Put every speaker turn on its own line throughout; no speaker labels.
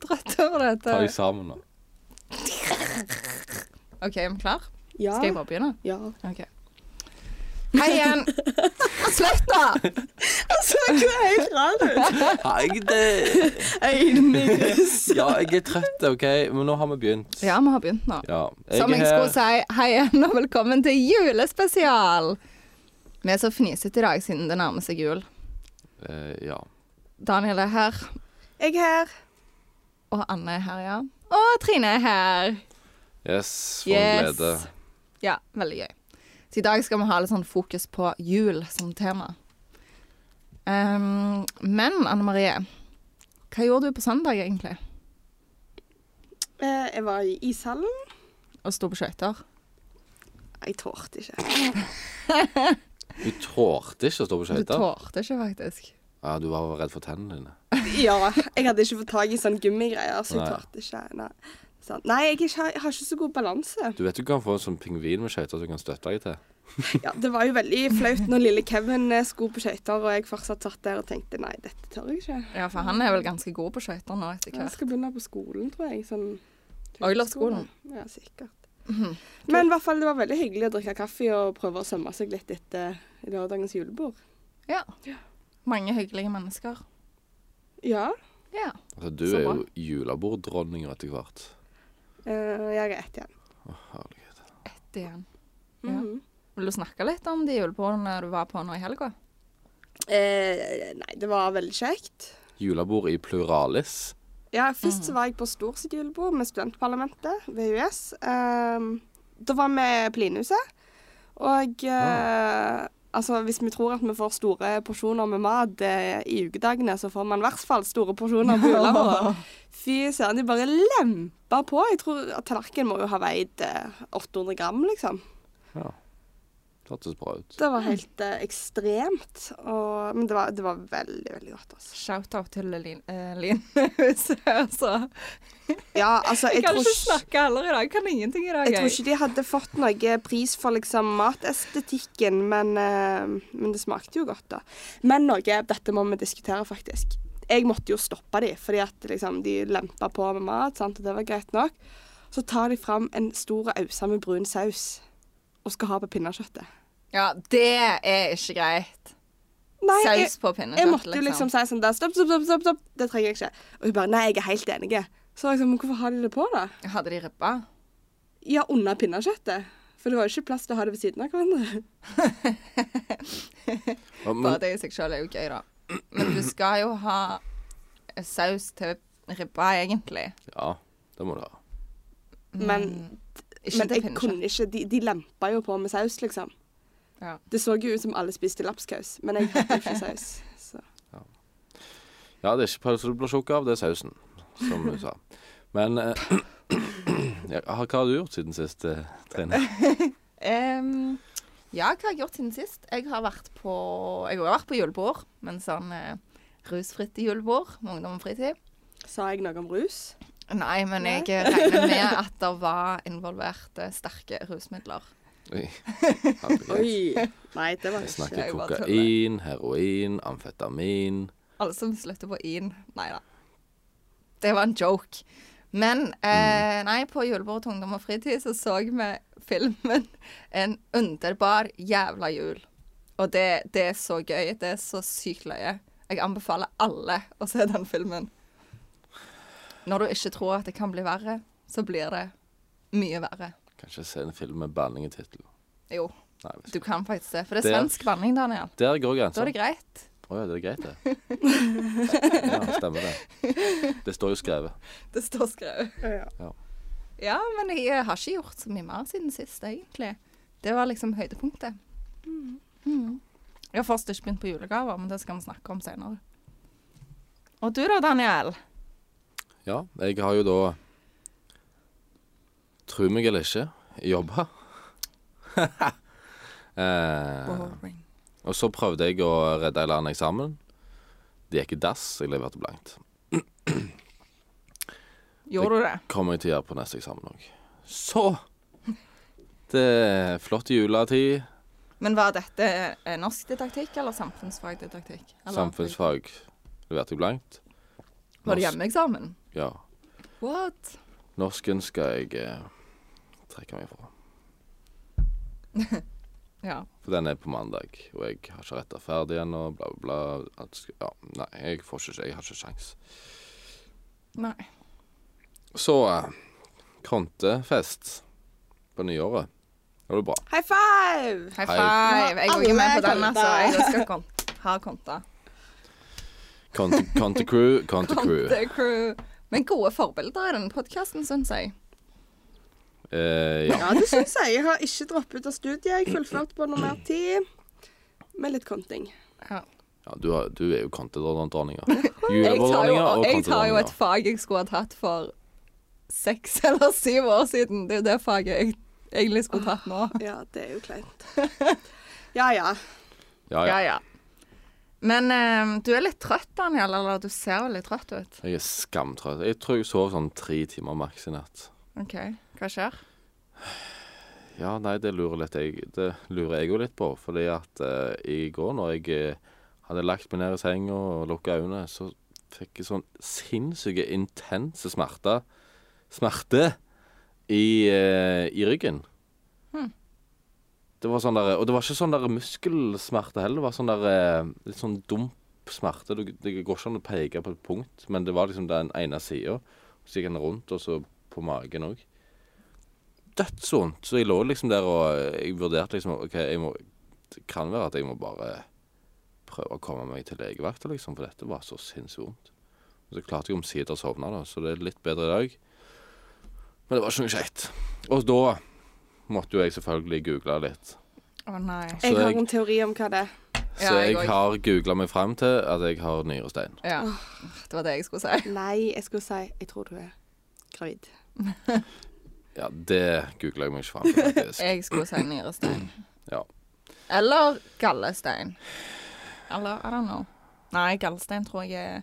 for dette.
Ta deg sammen nå.
OK, er vi klar?
Ja.
Skal jeg bare begynne?
Ja.
OK. Hei igjen. Slutt, da!
Altså, det er helt rart ut.
Hei, det...
Jeg er inne i krysset.
Ja, jeg er trøtt, OK? Men nå har vi begynt.
Ja, vi har begynt nå.
Ja.
Som
er
jeg skulle
her.
si, hei igjen og velkommen til julespesial. Vi er så fnisete i dag siden det nærmer seg jul.
Eh, ja.
Daniel er her,
Jeg er her.
og Anne er her, ja. Og Trine er her.
Yes, for en
Yes.
glede.
Ja, veldig gøy. Så i dag skal vi ha litt sånn fokus på jul som tema. Ehm, men Anne Marie, hva gjorde du på søndag egentlig?
Eh, Jeg var i ishallen.
Og sto på skøyter?
Jeg tålte ikke.
Du tålte ikke å stå på
Du
skøyter?
tålte ikke, faktisk.
Ja, du var redd for tennene dine.
Ja, jeg hadde ikke fått tak i sånn gummigreier, så jeg
Nei.
tålte ikke. Nei, sånn. Nei jeg, er ikke, jeg har ikke så god balanse.
Du vet du kan få en sånn pingvin med skøyter som du kan støtte deg til?
Ja, det var jo veldig flaut når lille Kevin eh, skulle på skøyter, og jeg fortsatt satt der og tenkte nei, dette tør jeg ikke.
Ja, for han er vel ganske god på skøyter nå etter
Jeg
hvert.
skal begynne på skolen, tror jeg. Sånn
Oilerskolen?
Ja, sikkert.
Mm.
Men i hvert fall, det var veldig hyggelig å drikke kaffe og prøve å sømme seg litt etter lørdagens julebord.
Ja. Mange hyggelige mennesker.
Ja,
Ja.
Altså, du
Så
er
bra.
jo juleborddronninga etter hvert.
eh, jeg er ett igjen.
Herregud.
Ett igjen. Ja.
Mhm.
Vil du snakke litt om de julebordene du var på nå i helga?
Eh, nei, det var veldig kjekt.
Julebord i pluralis.
Ja, først
Mm.
så var jeg på stort sitt julebord med studentparlamentet ved US. Ehm, da var vi på Linehuset. Og
Ah.
eh, altså, hvis vi tror at vi får store porsjoner med mat eh, i ukedagene, så får man i hvert fall store porsjoner på julebordet. Fy søren, de bare lempa på. Jeg tror at tallerkenen må jo ha veid eh, 800 gram, liksom.
Ja. Det hørtes bra ut.
Det
Ah.
var helt eh, ekstremt. Og, men det var, det var veldig, veldig godt, altså.
Shout-out til Lin- eh, Linehuset, altså.
Ja, altså, jeg,
Jeg kan
tror
ikke snakke heller i dag. Jeg kan ingenting i dag.
Jeg tror ikke de hadde fått noe pris for liksom matestetikken, men, eh, men det smakte jo godt, da. Men noe Dette må vi diskutere, faktisk. Jeg måtte jo stoppe de, fordi at liksom, de lempa på med mat, sant? og det var greit nok. Så tar de fram en stor ause med brun saus og skal ha på pinnekjøttet.
Ja, det er ikke greit.
Nei, jeg,
Saus på
jeg
pinnekjøtt,
måtte jo liksom si sånn der, stopp, stopp, stopp, stopp, stopp. det trenger jeg ikke. Og hun bare nei, jeg er helt enig. Så liksom, men hvorfor har de det på, da?
Hadde de ribba?
Ja, under pinnekjøttet. For det var jo ikke plass til å ha det ved siden av hverandre.
Ja, men
Bare det i seg selv er jo gøy, da. Men du skal jo ha saus til ribba, egentlig. Mm.
ja, det må du ha.
Men
Ikke
Men
til
jeg
pinnekjøtt.
kunne ikke, de, de lempa jo på med saus, liksom.
Ja.
Det så jo ut som alle spiste lapskaus, men jeg hadde ikke saus. Så.
Ja, det er ikke pølse du blir tjukk av, det er sausen, som du sa. Men eh, ja, hva har du gjort siden sist, eh, Trine?
Ehm, ja, hva har jeg gjort siden sist? Jeg har vært på, jeg har vært på julebord, men sånn eh, rusfritt julebord med ungdom og fritid.
Sa jeg noe om rus?
Nei, men
Nei.
jeg regner med at det var involvert eh, sterke rusmidler.
Oi. Herregud.
Oi! Nei, det var
Jeg
ikke
snakker
Jeg bare
kokain, heroin, amfetamin
Alle som slutter på in. Nei da. Det var en joke. Men eh, nei, på julebordet til ungdom og fritid så så vi filmen En underbar jævla jul. Og det, det er så gøy. Det er så sykt løye. Jeg anbefaler alle å se den filmen. Når du ikke tror at det kan bli verre, så blir det mye verre.
Kanskje se en film med banning i tittelen.
Jo,
Nei, vet
du
ikke.
kan faktisk det. For det
Det- Sånn.
er svensk banning, Daniel.
Der
Da
går grensa.
er det greit.
Å ja, det er greit, det. Ja, stemmer det. Det står jo skrevet.
Det står skrevet.
Ja.
Ja, men jeg har ikke gjort så mye mer siden sist, egentlig. Det var liksom høydepunktet. Mm. Jeg har først ikke begynt på julegaver, men det skal vi snakke om senere. Og du da, Daniel?
Ja, jeg har jo da Tru meg eller ikke jobba. eh, og så prøvde jeg å redde en eller annen eksamen. Det gikk i dass. Jeg leverte blankt.
Gjorde du det?
Kommer jeg til å gjøre på neste eksamen òg. Så Det er flott juletid.
Men var dette eh, norsk didaktikk eller samfunnsfagdidaktikk? Eller-
Samfunnsfag leverte jeg blankt.
Var det
Norsk-
hjemmeeksamen?
Ja.
What?
Norsken skal jeg eh, trekke meg fra.
Ja.
For den er på mandag, og jeg har ikke retta ferdig ennå, bla, bla, bla. Alt sk- Ja, nei, jeg får ikke Jeg har ikke sjans.
Nei.
Så eh, Krontefest på nyåret. Det var bra.
High five!
High
Hei.
five. Jeg går ikke med på den,
Alle
altså. Jeg skal kon ha konta.
Conte, Conte Crew, Conte Crew.
Conte-crew. Men gode forbilder i denne podkasten, syns jeg.
Eh, ja.
Ja, det syns jeg. Jeg har ikke droppet ut av studiet. Jeg fullførte på normert tid. Med litt konting.
Ja.
ja, du, har, du er jo Conte-dronninga.
Jeg tar, jo,
Julebordronninga og
jeg tar jo et
Conte-dronninga.
fag jeg skulle ha tatt for seks eller syv år siden. Det er jo det faget jeg egentlig skulle tatt nå.
Ja, det er jo kleint. Ja ja.
Ah, Ja, ja.
Men eh, du er litt trøtt, Daniel. Eller du ser jo litt trøtt ut.
Jeg er skamtrøtt. Jeg tror jeg sov sånn tre timer maks i natt.
OK, hva skjer?
Ja, nei, det lurer, litt jeg, det lurer jeg jo litt på. Fordi at eh, i går når jeg eh, hadde lagt meg ned i senga og lukka øynene, så fikk jeg sånn sinnssyke, intense smerter smerte i, eh, i ryggen. Det var sånn der, og det var ikke sånn der muskelsmerte heller. Det var sånn der eh, litt sånn dump smerte. Du- Det går ikke an å peke på et punkt, men det var liksom den ene sida. Så gikk den rundt, og så på magen òg dødsvondt. Så jeg lå liksom der og jeg vurderte liksom OK, jeg må Det kan være at jeg må bare prøve å komme meg til legevakta, liksom, for dette var så sinnssykt vondt. Og så klarte jeg omsider å sovne, da, så det er litt bedre i dag. Men det var ikke noe kjekt. Og da måtte jo jeg selvfølgelig google litt.
Å nei.
Så
Jeg har
jeg-
en teori om hva det er.
Så
Ja, jeg
jeg
òg.
har googla meg frem til at jeg har nyrestein.
Ja. Det var det jeg skulle si.
Nei, jeg skulle si jeg tror du er gravid.
Ja, det googla jeg meg ikke frem til, faktisk.
Jeg skulle si nyrestein.
Ja.
Eller gallestein. Eller I don't know. Nei, gallestein tror jeg er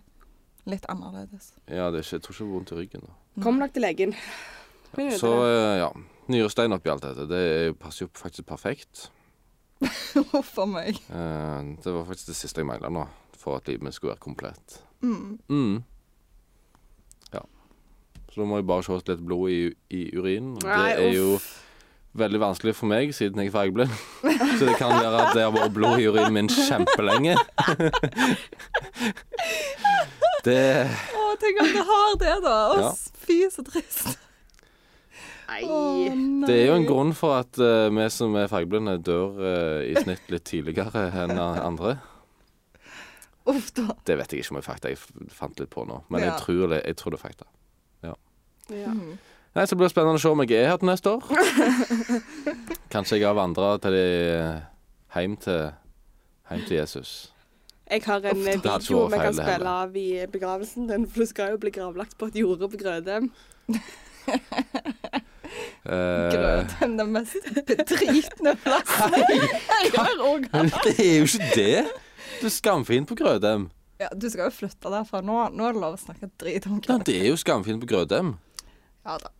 litt annerledes.
ja det er ikke, jeg tror ikke det er vondt i ryggen. da.
Mm.
Kom dere til legen. Hun vet
Så
det.
eh, ja. Nyrestein oppi alt dette. Det er- passer jo faktisk perfekt.
Huff a meg.
Eh, det var faktisk det siste jeg mangla nå, for at livet mitt skulle være komplett. Mm. Ja. Så da må jeg bare se litt blod i, i urinen. og
Nei,
Det er jo veldig vanskelig for meg, siden jeg er fargeblind. Så det kan være at det har vært blod i urinen min kjempelenge. det
Å, tenk om du har det, da. Å,
Ja.
fy, så trist.
eh,
Nei.
Å, nei.
Det er jo en grunn for at eh, vi som er fargeblinde, dør eh, i snitt litt tidligere enn andre.
Uff da.
Det vet jeg ikke om er fakta. Jeg f- fant litt på nå. Men
Ja.
jeg, tror det, jeg tror det er fakta.
Ja.
Mm.
Nei, så blir det spennende å se om jeg er her til neste år. Kanskje jeg har vandra til de hjem til, hjem til Jesus.
Jeg har en eh,
det hadde ikke
video
vært
vi kan
feil, det
spille
heller.
av i begravelsen din, for du skal jo bli gravlagt på et jorde på Grødem.
Eh,
Grøt er den mest bedritne plassen jeg har òg.
men det er jo ikke det! Du er skamfin på Grødem.
Ja, du skal jo flytte derfra nå. Nå er det lov å snakke drit om
Ja,
grøt.
det er jo skamfin på Grødem.
Ja da.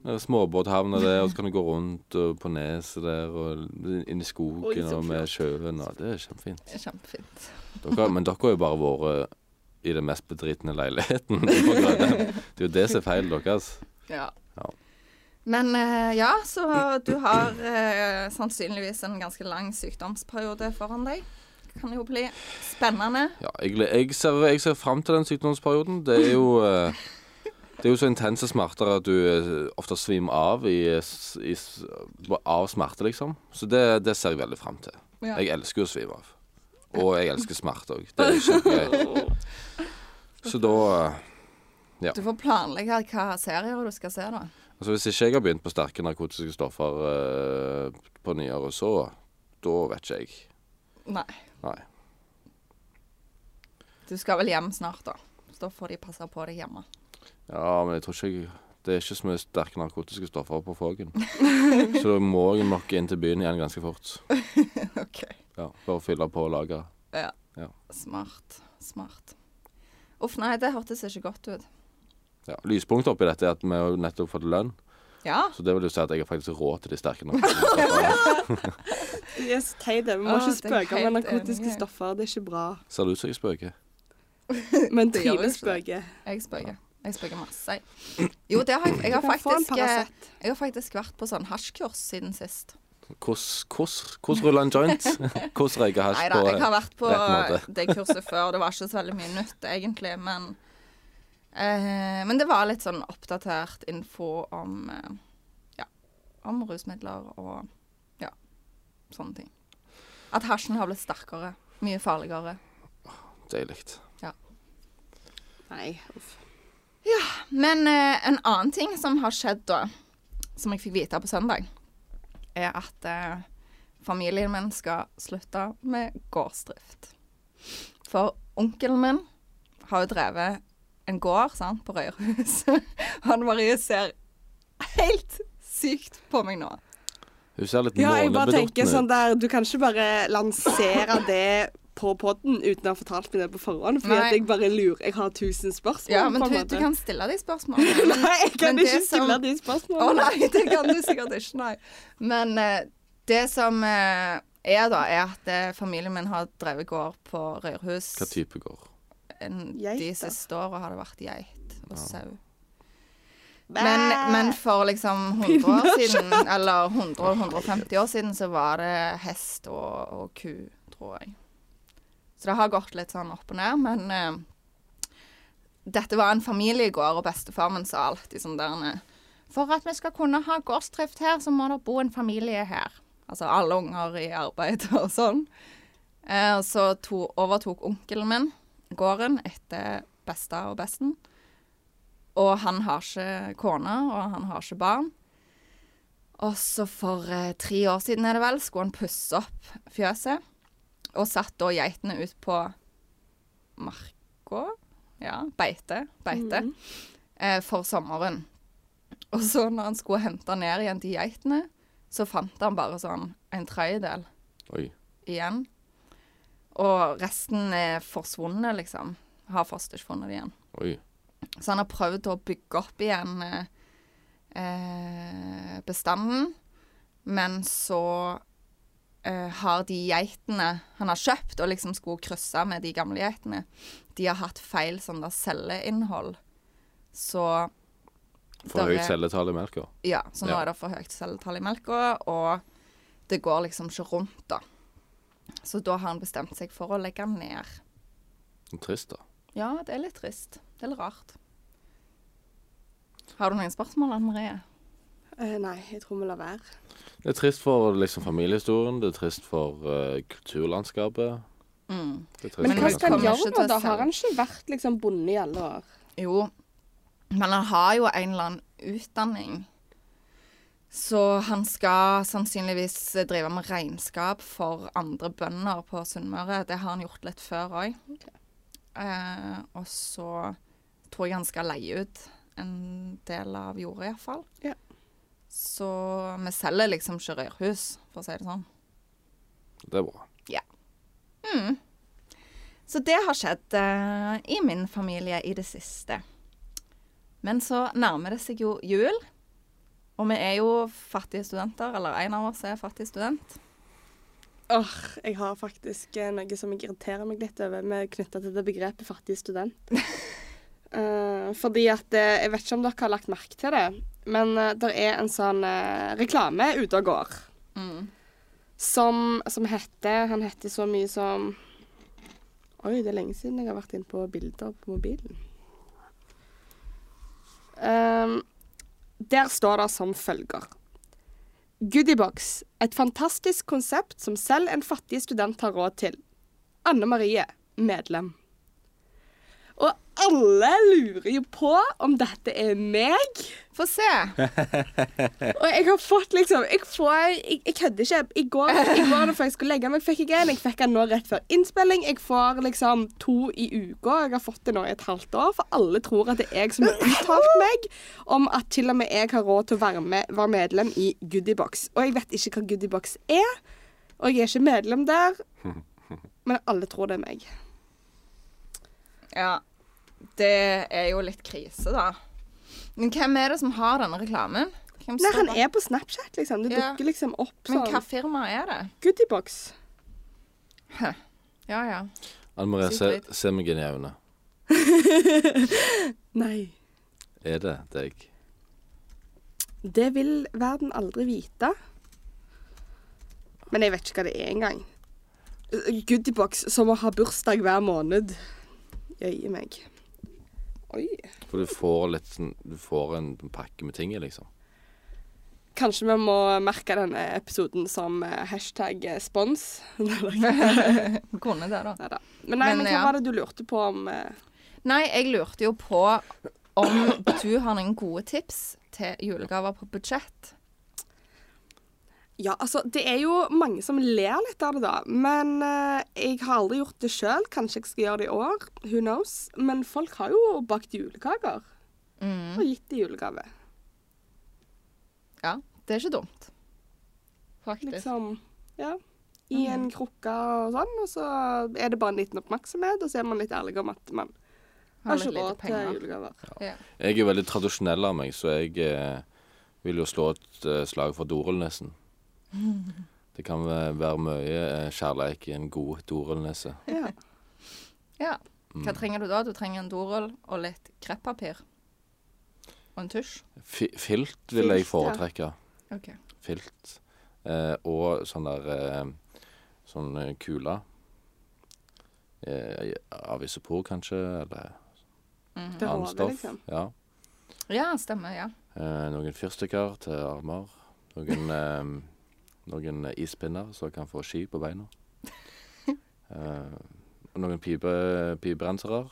Det er Småbåthavna der, og så kan du gå rundt og på neset der, og inn i
Oi,
skogen
så
og med
flott.
sjøen. Og det er kjempefint.
Kjempefint.
Dere, men dere har jo bare vært i den mest bedritne leiligheten på Grødem. Det er jo det som er feilen deres.
Ja.
Ja.
Men eh, ja, så du har eh, sannsynligvis en ganske lang sykdomsperiode foran deg. Kan jo bli spennende.
Ja, jeg, gle- jeg, ser, jeg ser frem til den sykdomsperioden. Det er jo eh, Det er jo så intense smerter at du eh, ofte svimer av i, s- i, s- av smerte, liksom. Så det, det ser jeg veldig frem til.
Ja.
Jeg elsker å svime av. Og jeg elsker smerte òg. Det er kjempegøy. Så da eh,
Du får planlegge hva serier du skal se, da.
Altså Hvis ikke jeg har begynt på sterke narkotiske stoffer eh, på nyåret, så Da vet ikke jeg.
Nei.
Nei.
Du skal vel hjem snart, da. Så da får de passe på deg hjemme.
Ja, men jeg tror ikke jeg Det er ikke så mye sterke narkotiske stoffer på Fågen. så da må jeg nok inn til byen igjen ganske fort.
OK.
Ja, Bare fylle på lageret.
Ja.
Ja.
Smart. Smart. Uff, nei, det hørtes ikke godt ut.
Ja. Lyspunktet oppi dette er at vi har jo nettopp fått lønn,
Ja.
så det vil jo si at jeg har faktisk råd til de sterke narkotiske stoffene.
De er så teite. Vi må
Å,
ikke
det er
spøke med
helt
narkotiske
enig.
stoffer. Det er ikke bra.
Ser det ut som jeg spøker?
Men
Det gjør
Trine
visst det.
spøker.
Jeg spøker. Jeg spøker masse. jeg. Jo, det har jeg, jeg, har
Du kan få en
faktisk, eh,
Paracet.
jeg har faktisk vært på sånn hasjkurs siden sist.
Hvordan ruller en joint? Hvordan røyker hasj
Nei da,
på
jeg har vært på
rett
det kurset før. Det var ikke så veldig mye nytt, egentlig, men eh, Men det var litt sånn oppdatert info om eh, Ja, om rusmidler og ja, sånne ting. At hasjen har blitt sterkere. Mye farligere.
Deilig.
Nei, uff.
Men eh, en annen ting som har skjedd da, som jeg fikk vite på søndag, er at eh, familien min skal slutte med gårdsdrift. For onkelen min har jo drevet en gård sant, på Røyrhus. Han Marie ser helt sykt på meg nå.
Hun ser litt
Ja, jeg bare tenker sånn
månebedotten ut.
der Du kan ikke bare lansere det på poden uten å ha fortalt meg det på forhånd. Fordi
Nei.
at jeg bare lurer. Jeg har tusen spørsmål.
Ja, men
på en
du,
måte.
du kan stille de spørsmålene. men-
Nei, jeg kan
men
ikke
det som-
stille de
Å
spørsmålene.
nei, det kan du sikkert ikke, nei. Men eh, det som eh, er da, er at eh, familien min har drevet gård på Røyrhus.
Hva type går?
En, de
Geiter.
siste åra har det vært geit og sau.
Bæ!
Men, men for liksom 100 år siden, eller 100-150 år siden, så var det hest og, og ku, tror jeg. Så det har gått litt sånn opp og ned, men eh, dette var en familiegård, og bestefar min sa alltid sånn der nede. For at vi skal kunne ha gårdsdrift her, så må det bo en familie her. Altså alle unger i arbeid og sånn. Eh, og så to, overtok onkelen min gården etter besta og besten. Og han har ikke kone, og han har ikke barn. Og så for eh, tre år siden er det vel, skulle han pusse opp fjøset. Og satt da geitene ut på marka. Ja, beite. Beite. Eh, for sommeren. Og så når han skulle hente ned igjen til geitene, så fant han bare sånn en tredjedel
Oi.
igjen. Og resten er forsvunnet, liksom. Har først ikke funnet det igjen.
Oi.
Så han har prøvd å bygge opp igjen eh, eh, bestanden, men så eh, har de geitene han har kjøpt og liksom skulle krysse med de gamle geitene, de har hatt feil sånn der celleinnhold. Så
For
der
høyt
er-
celletall i melka.
Ja, så nå
Ja.
er det for høyt celletall i melka, og det går liksom ikke rundt, da. Så da har han bestemt seg for å legge den ned.
Trist, da.
Ja, det er litt trist. Det er litt rart. Har du noen spørsmål, Anne Marie?
Eh, Nei, jeg tror vi lar være.
Det er trist for liksom familiehistorien, det er trist for eh, kulturlandskapet.
Mm.
Det er trist
Men
Men
hva
han
for
skal
kommer
menneskene.
han
ikke
gjøre
til å
nå? Da
selge.
har han ikke vært liksom bonde i alle år.
Jo, men han har jo en eller annen utdanning. Så han skal sannsynligvis drive med regnskap for andre bønder på Sunnmøre. Det har han gjort litt før òg. Eh, og så tror jeg han skal leie ut en del av jorda, iallfall.
Ja.
Så vi selger liksom ikke rørhus, for å si det sånn.
Det er bra.
Hmm. Så det har skjedd eh, i min familie i det siste. Men så nærmer det seg jo jul, og vi er jo fattige studenter, eller en av oss er fattig student.
Åh, Jeg har faktisk eh, noe som jeg irriterer meg litt over med knytta til det begrepet fattig student. Eh, fordi at eh, Jeg vet ikke om dere har lagt merke til det, men det er en sånn eh, reklame ute og går
Hmm.
som, som heter Han heter så mye som Oi, det er lenge siden jeg har vært inne på bilder på mobilen. Ehm, der står det som følger. Goodiebox. Et fantastisk konsept som selv en fattig student har råd til. Anne Marie, medlem. Og alle lurer jo på om dette er meg.
Få se.
Og jeg har fått liksom Jeg, får, jeg, jeg kødder ikke. I går, I går før jeg skulle legge meg, fikk jeg en. Jeg fikk den nå rett før innspilling. Jeg får liksom to i uka. Jeg har fått det nå i et halvt år. For alle tror at det er jeg som har uttalt meg om at til og med jeg har råd til å være, med, være medlem i Goodiebox. Og jeg vet ikke hva Goodiebox er, og jeg er ikke medlem der. Men alle tror det er meg.
Ja, det er jo litt krise, da. Men hvem er det som har denne reklamen? Hvem
Nei,
står
han
bak-
er på Snapchat, liksom. Det
Ja.
dukker liksom opp
Men hva
sånn.
firma er det?
Goodiebox.
Ja, ja.
Anne Marie, se,
Sikkert.
se meg inn i øynene.
Nei.
er det deg?
Det vil verden aldri vite. Men jeg vet ikke hva det er engang. Goodiebox som å ha bursdag hver måned. Jøye meg. Oi.
For du får litt sånn Du får en pakke med ting i, liksom.
Kanskje vi må merke denne episoden som eh, hashtag eh, spons. Neida.
Kunne det, da.
Neida. Men nei,
Men,
men hva
ja.
var det du lurte på om eh,
Nei, jeg lurte jo på om du har noen gode tips til julegaver på budsjett.
Ja, altså, det er jo mange som ler litt av det, da. Men eh, jeg har aldri gjort det sjøl. Kanskje jeg skal gjøre det i år. Who knows? Men folk har jo bakt julekaker.
Hmm.
Og gitt det i julegave.
Ja, det er ikke dumt. Faktisk.
Liksom, ja. I en krukke og sånn. Og så er det bare en liten oppmerksomhet, og så er man litt ærlig om at man
Har
har
litt
ikke
lite
råd til
penger.
julegaver.
Ja.
Jeg er jo veldig tradisjonell av meg, så jeg eh, vil jo slå et eh, slag for dorullnissen. Det kan væ- være mye eh, kjærleik i en god dorullnisse.
Ja.
ja. Hva trenger du da? Du trenger en dorull og litt kreppapir. Og en tusj.
Fi- Filt vil jeg
Filt,
foretrekke.
Ok.
Filt. Eh, og sånn der eh, Sånn eh, kule. Eh, av isopor, kanskje, eller
Til
annet
hodet,
stoff.
liksom.
Ja.
Ja, stemmer. Ja.
Eh, noen fyrstikker til armer. Noen, eh, noen ispinner som kan få ski på beina. Eh, og noen pipe, piperensere.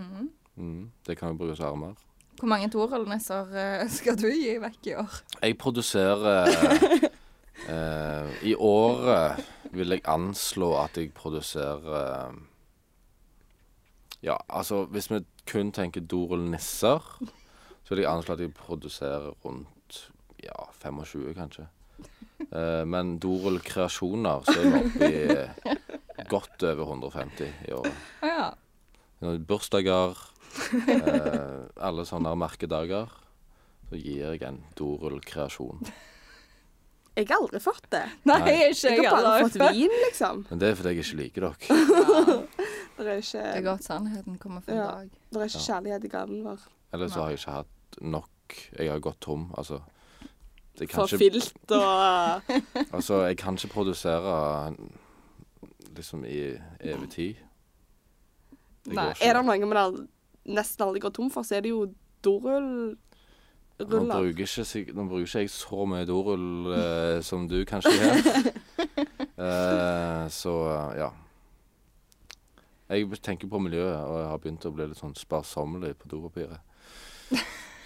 Mhm.
Mm, det kan jo brukes som armer.
Hvor mange dorullnisser eh, skal du gi vekk i år?
Jeg produserer eh, I året vil jeg anslå at jeg produserer eh, Ja, altså hvis vi kun tenker dorullnisser, så vil jeg anslå at jeg produserer rundt ja, 25, kanskje. Eh, men dorullkreasjoner så er vi oppe i godt over 150 i året.
Å ja.
Når det er Bursdager, eh, alle sånne merkedager. Så gir jeg en dorullkreasjon.
Jeg har aldri fått det.
Nei,
Nei.
ikke
Jeg
jeg
har bare
heller.
fått vin, liksom.
Men det er fordi jeg ikke liker dere.
Det er
Det er
ikke,
godt sannheten kommer for
Ja.
en dag.
det er ikke kjærlighet i gaven vår.
Eller så har jeg ikke hatt nok. Jeg har gått tom. Altså, jeg kan,
For
ikke,
filt og
altså, jeg kan ikke produsere liksom i evig tid. Det
Nei.
går ikke.
Er det noe man al- nesten aldri går tom for, så er det jo dorullruller.
Nå bruker, ikke, sik- nå bruker ikke jeg så mye dorull eh, som du kanskje gjør. Eh, så ja. Jeg tenker på miljøet, og jeg har begynt å bli litt sånn sparsommelig på dopapiret.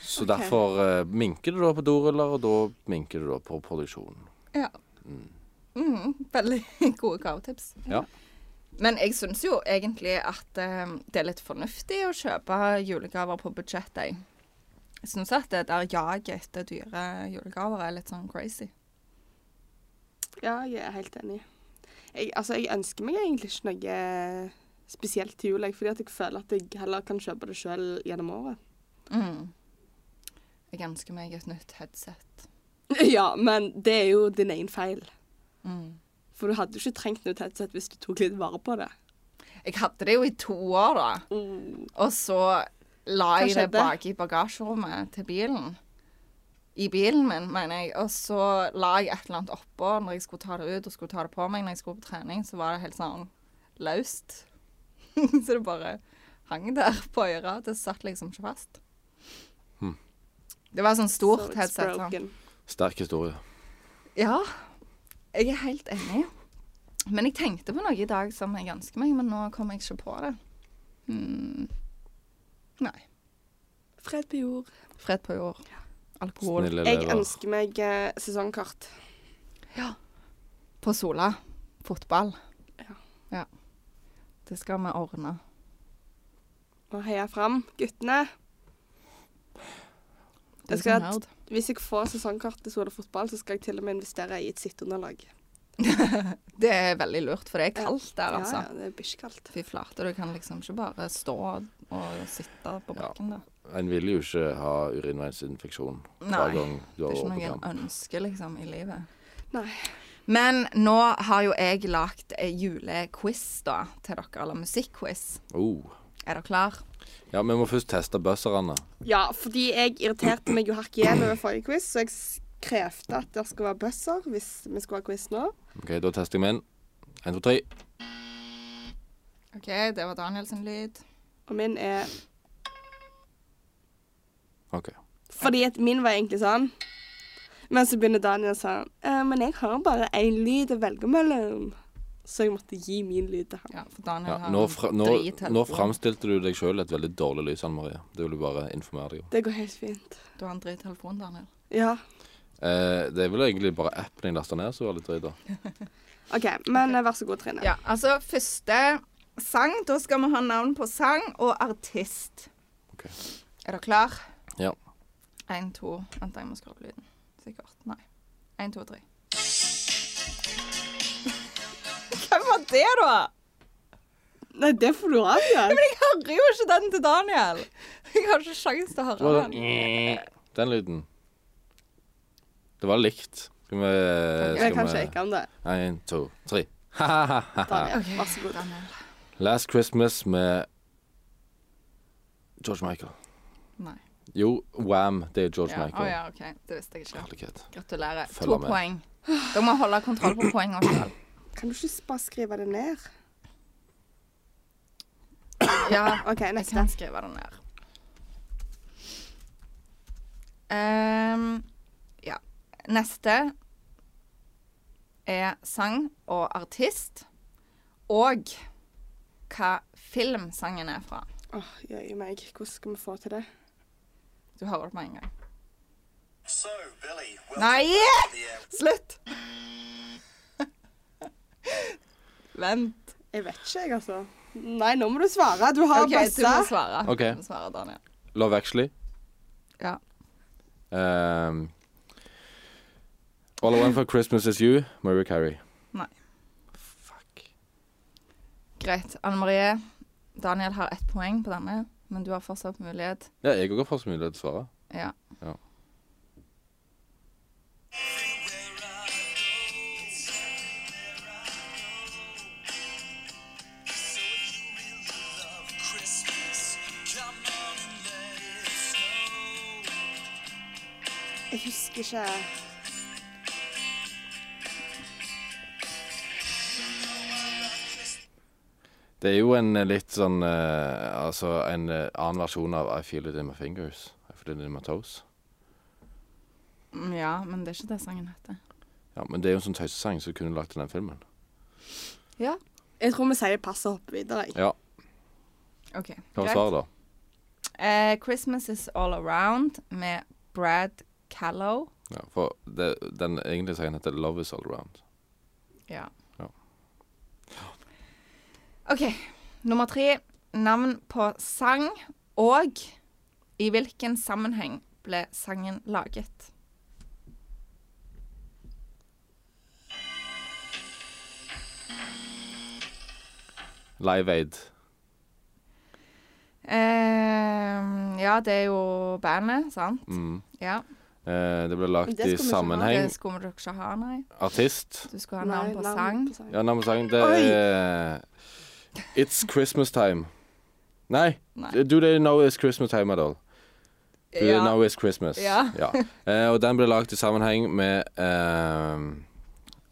Så
Ok.
derfor eh, minker det da på doruller, og da minker det da på produksjonen.
Ja. Mhm, veldig gode gavetips.
Ja.
Men jeg syns jo egentlig at eh, det er litt fornuftig å kjøpe julegaver på budsjett, jeg. Jeg syns at det der jaget etter dyre julegaver er litt sånn crazy.
Ja, jeg er helt enig. Jeg, altså, jeg ønsker meg egentlig ikke noe eh, spesielt til jul, jeg, fordi at jeg føler at jeg heller kan kjøpe det sjøl gjennom året.
Mm. Jeg ønsker meg et nytt headset.
ja, men det er jo din egen feil.
Mm.
For du hadde jo ikke trengt noe headset hvis du tok litt vare på det.
Jeg hadde det jo i to år, da.
Mm.
Og så la
Hva
jeg det
skjedde?
bak i bagasjerommet til bilen. I bilen min, mener jeg. Og så la jeg et eller annet oppå når jeg skulle ta det ut og skulle ta det på meg når jeg skulle på trening. Så var det helt sånn løst. så det bare hang der på øret. Det satt liksom ikke fast.
Hmm.
Det var sånn stort
So it's
headset. Sånn.
broken.
Sterk historie.
Ja, jeg er helt enig. Men jeg tenkte på noe i dag som jeg ønsker meg, men nå kom jeg ikke på det. Hmm. Nei.
Fred på jord.
Fred på jord. Alkohol
Snille
Jeg
elever.
ønsker meg eh, sesongkort.
på Sola. Fotball.
Ja.
ja. Det skal vi ordne.
Og heia fram, guttene.
Du
Jeg skal
som
ha
nerd.
Hvis jeg får sesongkort til Sola fotball, så skal jeg til og med investere i et sitteunderlag.
Det er veldig lurt, for det er
Ja.
kaldt der, altså.
Ja, ja, det er bikkjekaldt.
Fy flate, du kan liksom ikke bare stå og sitte på
Ja.
bakken der.
En vil jo ikke ha urinveisinfeksjon hver
Nei.
gang du
Det
har
er
vært på
ikke
kamp.
noe en ønsker, liksom, i livet.
Nei.
Men nå har jo jeg lagt ei julequiz da, til dere, eller musikkquiz.
Oh,
Er dere klar?
Ja, vi må først teste buzzerne.
Ja, fordi jeg irriterte meg jo hakk igjen over forrige quiz, så jeg s- krevde at det skulle være buzzer hvis vi skulle ha quiz nå.
OK, da tester jeg min. Én, to, tre.
OK, det var Daniel sin lyd.
Og min er
OK.
Fordi at min var egentlig sånn. Men så begynner Daniel sånn «Eh, Men jeg har bare én lyd å velge mellom. Så jeg måtte gi min lyd til han.
Ja, for Daniel
Ja,
har
nå,
en
fra, nå,
drittelefon.
nå framstilte du deg sjøl et veldig dårlig lys, Anne Marie. Det vil jeg bare informere deg om.
Det går helt fint.
Du har en drittelefon, Daniel.
Ja.
Eh, det er vel egentlig bare appen jeg lasta ned som var litt drøy, da.
OK, men eh, vær så god, Trine.
Ja, altså første sang. Da skal vi ha navn på sang og artist.
Ok.
Er dere klar?
Ja.
Én, to Vent, jeg må skru opp lyden. Sikkert. Nei. Én, to, tre. Hvem var det, da?
Nei, det får du avgjøre.
Men jeg hører jo ikke den til Daniel. Jeg har ikke sjans til å
Det var
høre den.
den, den lyden. Det var likt. Skal vi
Men jeg
skal
kan shake om det.
vi Én, to, tre. Ha-ha-ha.
Daniel, vær så god.
Daniel.
Last Christmas med George Michael.
Nei.
Jo, Wham. Det er George
Ja. Å
Michael.
ja, OK. Det visste jeg ikke.
Herlighet.
Gratulerer.
Følger
To
med.
poeng. Dere må holde kontroll på poengene selv.
Kan du ikke s- bare skrive det ned?
Ja.
OK,
Jeg
neste.
kan skrive den ned. Ehm, ja. Neste er sang og artist. Og hva film sangen er fra.
Åh, jøye meg. Hvordan skal vi få til det?
Du hører det med en gang.
So, Billy, welcome
Nei!
to the air.
Slutt! Vent.
Jeg vet ikke, jeg, altså. Nei, nå må du svare. Du har
OK, du må
bøssa.
svare.
OK.
Du må svare, Daniel.
Love Actually.
Ja.
Um, All I Want for Christmas Is You, Mariah Carey.
Nei.
Fuck.
Greit. Anne Marie, Daniel har ett poeng på denne, men du har fortsatt mulighet.
Ja, jeg òg har fått så mulighet til å svare.
Ja.
Ja.
So if you really love Christmas, come on and let it snow.
Jeg husker ikke.
Det er jo en eh, litt sånn eh, Altså en eh, annen versjon av I Feel It In My Fingers. I Feel It In My Toes.
Mm, Ja, men det er ikke det sangen heter.
Ja, Men det er jo en sånn tøysesang som kunne lagt til den filmen.
Ja.
Jeg tror vi sier pass og hopper videre. jeg.
Ja,
OK.
Hva var
greit.
svaret, da?
Eh, 'Christmas Is All Around' med Brad Callow.
Ja, for det, den egentlige sangen heter Love Is All Around.
Ja.
Ja.
OK. Nummer tre. Navn på sang og i hvilken sammenheng ble sangen laget?
Live Aid.
Eh, ja, det er jo bandet, sant?
Mm.
Ja.
Eh, det ble lagt
Det
i
skulle vi ikke ha.
sammenheng.
Det skulle dere ikke ha, nei.
Artist.
Du skulle ha navn på sang.
Ja, navnet på sangen, det
Oi!
er It's Christmas Time. Nei.
Nei.
Do they know it's Christmas time at all? Do they
Ja.
know it's Christmas?
Ja.
Eh, og den ble lagd i sammenheng med ehm,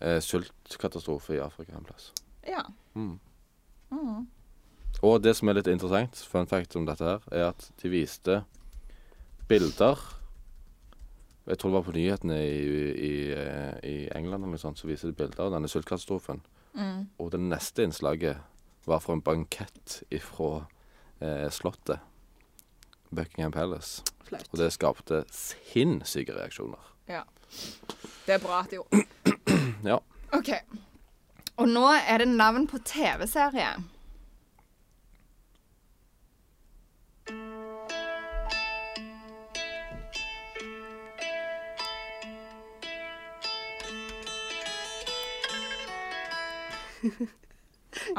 eh, sultkatastrofe i Afrika en plass.
ja.
Mm.
Mm.
Og det som er litt interessant, fun fact om dette her, er at de viste bilder Jeg tror det var på nyhetene i, i, eh, i England eller noe sånt, så viste de bilder av denne sultkatastrofen.
Mm.
Og det neste innslaget var fra en bankett fra eh, Slottet. Buckingham Palace.
Flaut.
Og det skapte sinnssyke reaksjoner.
Ja. Det er bra at de gjorde
Ja.
OK. Og nå er det navn på TV-serie.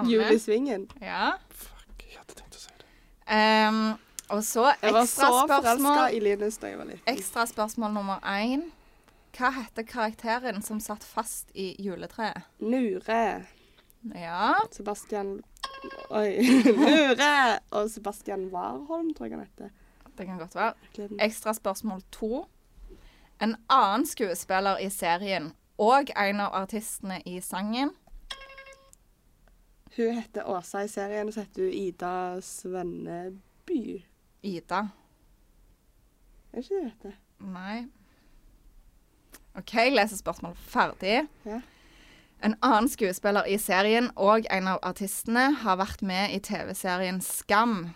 Jul i
Anne.
svingen.
Ja.
Fuck, jeg hadde tenkt å si det.
Ehm, og så
Jeg var så
ekstra
forelska
spørsmål,
i Linus da jeg var liten.
ekstra spørsmål nummer én. Hva heter karakteren som satt fast i juletreet?
Nure.
Ja.
Sebastian Oi. Lure! Og Sebastian Warholm, tror jeg han heter.
Det kan godt være.
Gleden.
Ekstra spørsmål to. En annen skuespiller i serien og en av artistene i sangen
Hun heter Åsa i serien, og så heter hun Ida Svenneby.
Ida.
Er ikke det hun heter?
Nei. OK, leser spørsmålet ferdig.
Ja.
En annen skuespiller i serien og en av artistene har vært med i TV-serien Skam.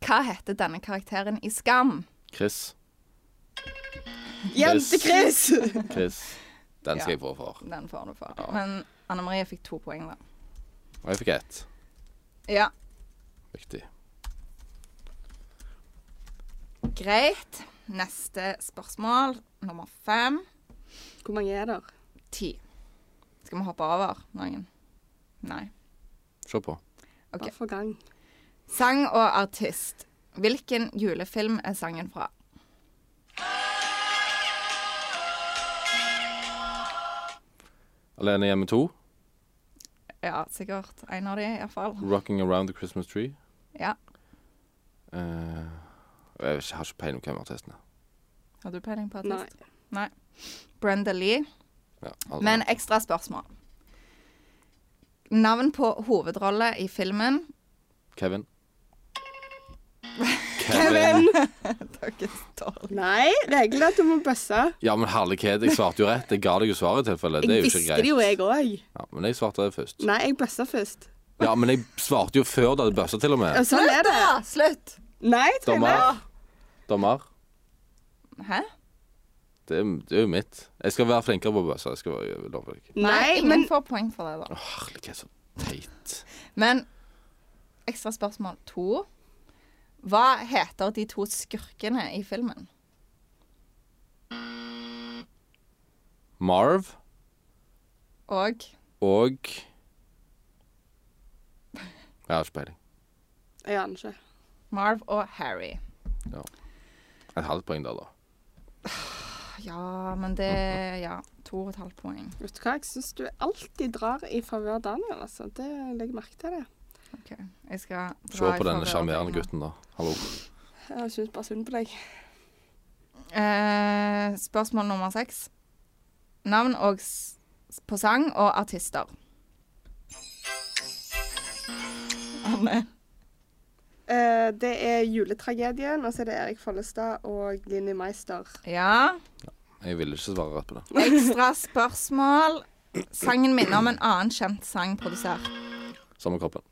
Hva heter denne karakteren i Skam?
Chris.
Jente-Chris!
Chris. Den skal
Ja.
jeg få for.
Den får du for.
Ja.
Men Anne Marie fikk to poeng, da.
Og jeg fikk ett.
Ja,
Viktig.
greit. Neste spørsmål, nummer fem.
Hvor mange er der?
Ti. Skal vi hoppe over noen? Nei.
Se på.
Ok.
Hver for gang.
Sang og artist. Hvilken julefilm er sangen fra?
Alene hjemme to.
Ja, sikkert en av de, iallfall.
'Rocking Around the Christmas Tree'.
Ja.
Eh, jeg vet ikke- har ikke peiling på hvem artisten er.
Har du peiling på
Nei.
artist? Brenda Lee.
Ja, aldri.
Men ekstra spørsmål. Navn på hovedrolle i filmen
Kevin.
Kevin!
Dere står.
Nei, reglene er at du må bøsse.
Ja, men herlighet, jeg svarte jo rett. Jeg ga deg jo svaret i tilfelle. Det er
Jeg
jo ikke
visste det
greit.
jo, jeg òg.
Ja, men jeg svarte det først.
Nei, jeg bøssa først.
Ja, men jeg svarte jo før du hadde bøssa, til og
Ja,
med.
Sånn er det.
da! Slutt!
Nei, Trine.
Dommer. Dommer.
Hæ?
Det er, det er jo mitt. Jeg skal være flinkere på å bøsse. Jeg skal være- love deg.
Nei,
ingen
men
får poeng for det, da.
Å, herlighet, så teit.
Men ekstra spørsmål to. Hva heter de to skurkene i filmen?
Marv
Og
og Jeg har ikke peiling.
Jeg aner ikke.
Marv og Harry.
Et halvt poeng der, da.
Ja, men det Ja, to og et halvt poeng.
Vet du hva, jeg syns du alltid drar i favør Daniel, altså. Det legger jeg merke til det.
OK. Jeg skal
Se
i
på
favør
denne
av
sjarmerende
Ragnar.
gutten, da. Hallo.
Jeg syns bare synd på deg.
Eh, spørsmål nummer seks. Navn og s på sang og artister. Anne.
Eh, det er juletragedien, og så er det Erik Follestad og Linni Meister.
Ja.
Jeg ville ikke svare rett på det.
Ekstra spørsmål. Sangen minner om en annen kjent sang produsert.
Samme kroppen.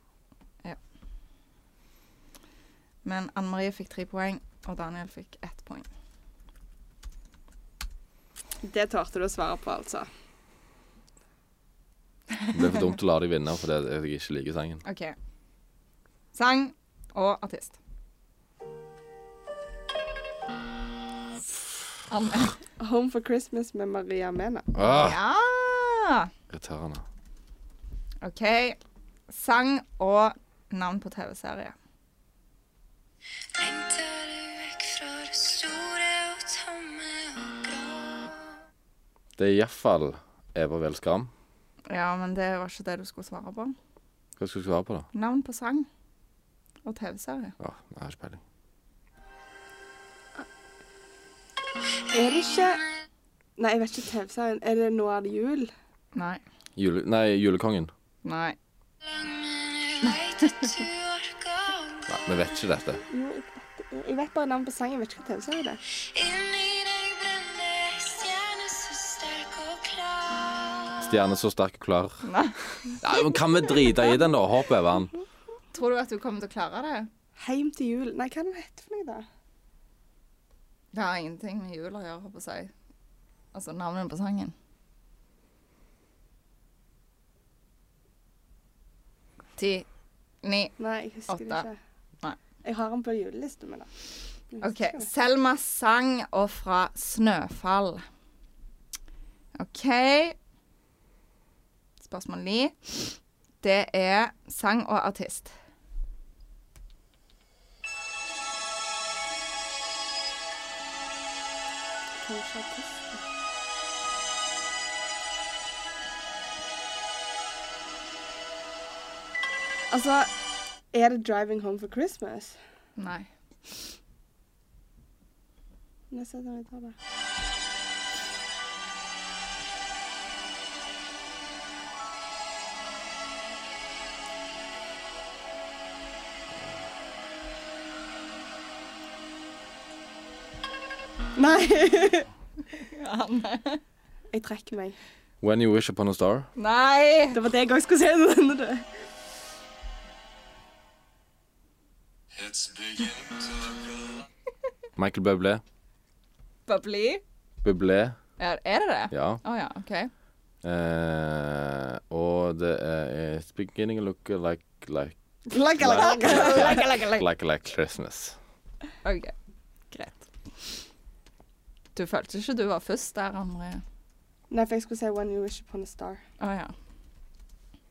Men Anne Marie fikk tre poeng, og Daniel fikk ett poeng.
Det torde du å svare på, altså.
Det ble for dumt å la de vinne fordi jeg ikke liker sangen.
OK. Sang og artist. Anne.
Home for Christmas med Maria Mena.
Ah,
Ja!
irriterende.
OK. Sang og navn på TV-serie.
Lengter du vekk fra det store og tomme og grå?
Det er iallfall Eva Vel Skam.
Ja, men det var ikke det du skulle svare på.
Hva skal du svare på, da?
Navn på sang og TV-serie.
Ja, jeg har ikke peiling.
Er det ikke Nei, jeg vet ikke TV-serien. Er det Nå er det jul?
Nei.
Jule, nei, Julekongen.
Nei.
Lang, men jeg veit at du orker å
Nei, Vi vet ikke dette.
Jo, jeg vet, jeg vet bare navnet på sangen. Jeg vet ikke hva TV-serie det er.
Inni deg brenner ei stjerne så sterk og klar.
Stjerne så sterk og klar.
Nei.
Nei, men Kan vi drite i den, da? Hopp over den.
Tror du at du kommer til å klare det?
Heim til jul Nei, hva er den heter for noe, da?
Det har ingenting med jul å gjøre, håper jeg. Altså navnet på sangen. Ti, ni
Nei, jeg husker det
Åtte.
ikke.
Nei.
Jeg har den på julelista mi, da. Jeg husker
OK.
ikke det.
Selma sang og fra 'Snøfall'. OK. Spørsmål ni. Det er sang og artist.
Kanskje artisten. Altså, er det 'Driving Home for Christmas'?
Nei.
Jeg ser den vi tar det. Nei.
Anne.
Jeg trekker meg.
When You Wish Upon a Star.
Nei!
Det var det jeg òg skulle si. når denne døde.
It's beginning to look a lot.
Michael Bublé.
Bubbly?
Bublé,
Er, er det det?
ja.
Å ja, OK.
Eh, og det er It's beginning to look like like
Like, like, like.
like, like Christmas.
Ok, Greit. Du følte ikke du var først der, André?
Nei, for jeg skulle si 'When You Wish Upon a Star'.
Å ja.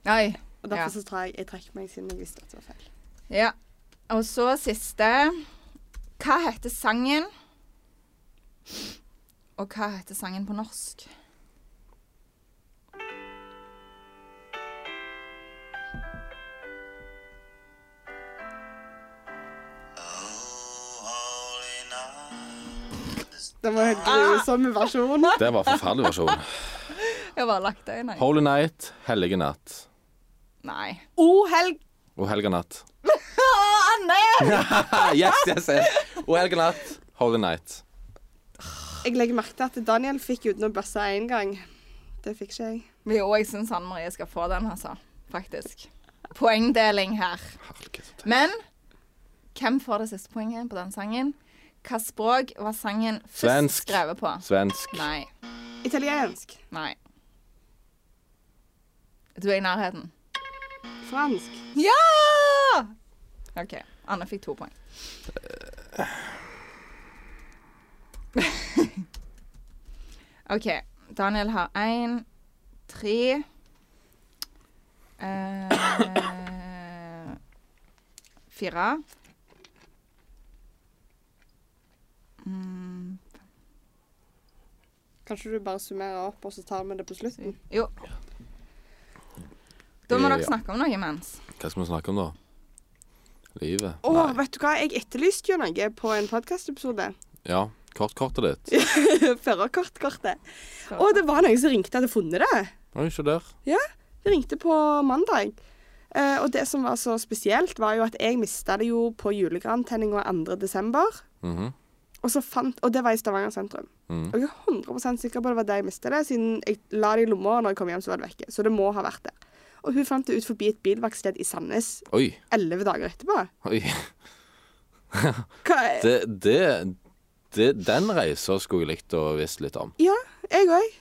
Nei.
Og derfor
Ja.
så tar jeg, jeg trekker meg siden jeg visste at det var feil.
Ja. Og så siste. Hva heter sangen? Og hva heter sangen på norsk?
Oh, holy night. This
Det var helt grusom versjon.
Det var forferdelig versjon.
Jeg bare lagt det inn. jeg.
Holy Night, Hellige natt
Nei.
O helg
og Helga natt.
Å, Anne!
yes, yes, yes. Og Helga natt, Holy Night.
Jeg legger merke til at Daniel fikk uten å bøsse én gang. Det fikk ikke jeg.
Jo, jeg syns Anne Marie skal få den, altså. Faktisk. Poengdeling her.
Herregud.
Men hvem får det siste poenget på den sangen? Hva språk var sangen først
Svensk.
skrevet på?
Svensk.
Nei.
Italiensk.
Nei. Du er i nærheten.
Fransk.
Ja! OK. Anne fikk to poeng. OK. Daniel har én, tre eh, Fire. Mm,
Kanskje du bare summerer opp, og så tar vi det på slutten?
jo. Da må dere
Ja.
snakke om noe imens.
Hva skal vi snakke om, da? Livet?
Å, vet du hva? Jeg etterlyste jo noe på en podkastepisode.
Ja. Kort-kortet ditt.
Førerkortkortet. Og det var noen som ringte og hadde funnet det.
Oi, se der.
De ringte på mandag. Eh, og det som var så spesielt, var jo at jeg mista det jo på julegrantenninga 2. desember.
Mhm.
Og, så fant, og det var i Stavanger sentrum.
Mhm.
Og jeg er 100 sikker på at det var der jeg mistet det, siden jeg la det i lomma og når jeg kom hjem, så var det vekke. Så det må ha vært der. Og hun fant det ut forbi et bilverksted i Sandnes
Oi.
elleve dager etterpå.
Oi.
Hva?
Det, det, det Den reisa skulle jeg likt å visst litt om.
Ja, jeg òg.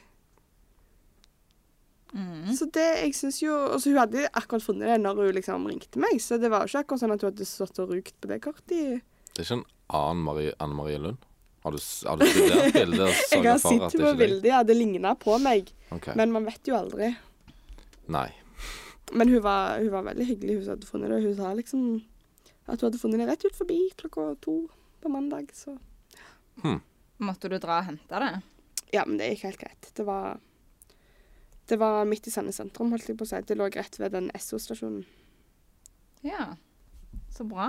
Mm.
Så det, jeg synes jo Altså, hun hadde akkurat funnet det når hun liksom ringte meg, så det var jo ikke akkurat sånn at hun hadde stått og rugt på det kortet i
Det er ikke en annen Marie, Anne Marie Lund? Har du, s- har du studert bildet og
Jeg har
sørget for at det
sett på
ikke er deg?
bildet, ja, det ligna på meg,
Ok.
men man vet jo aldri.
Nei.
Men hun var, hun var veldig hyggelig, hun som hadde funnet det. Hun sa liksom at hun hadde funnet det rett ut forbi klokka to på mandag. Så
Måtte du dra og hente det?
ja, men det gikk helt greit. Det var, det var midt i Sandnes sentrum, holdt jeg på å si. Det lå rett ved den SO-stasjonen.
Ja. Så bra.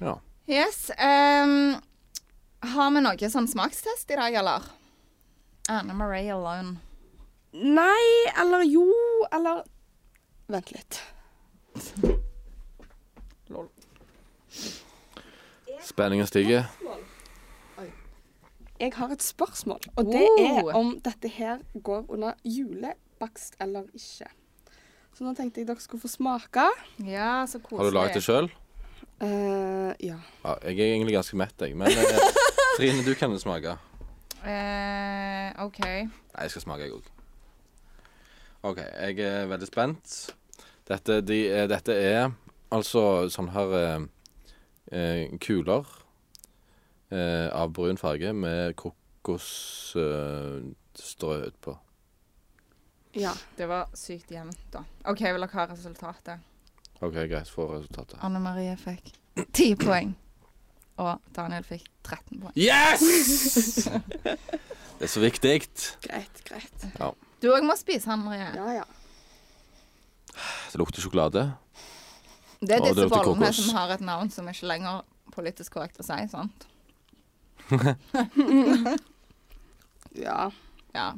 Ja.
Yes. ehm, har vi noe sånn smakstest i dag, eller? Anne Marie alone.
Nei, eller jo, eller Vent litt.
Lol.
Spenningen stiger.
Jeg har et spørsmål, og det
Wow.
er om dette her går under julebakst eller ikke. Så nå tenkte jeg dere skulle få smake.
Ja, så koselig.
Har du laget det sjøl?
Eh, ja.
Ja, jeg er egentlig ganske mett, jeg. Men eh, Trine, du kan jo smake.
Eh, OK.
Nei, jeg skal smake, jeg òg. OK, jeg er veldig spent. Dette, de, eh, dette er altså sånn her eh, eh, kuler eh, av brun farge med kokosstrø strø utpå.
ja.
Det var sykt jevnt, da. OK, vil dere ha resultatet?
OK, greit. Få resultatet.
Anne Marie fikk ti poeng. Og Daniel fikk 13 poeng.
Yes! Det er så viktig.
Greit, greit.
Du òg må spise, Anne Marie.
Ja, ja.
Det lukter sjokolade.
Det er
Å,
disse
det lukter
bollene
kokos.
som har et navn som ikke lenger politisk korrekt å si, sant?
Ja.
Ja.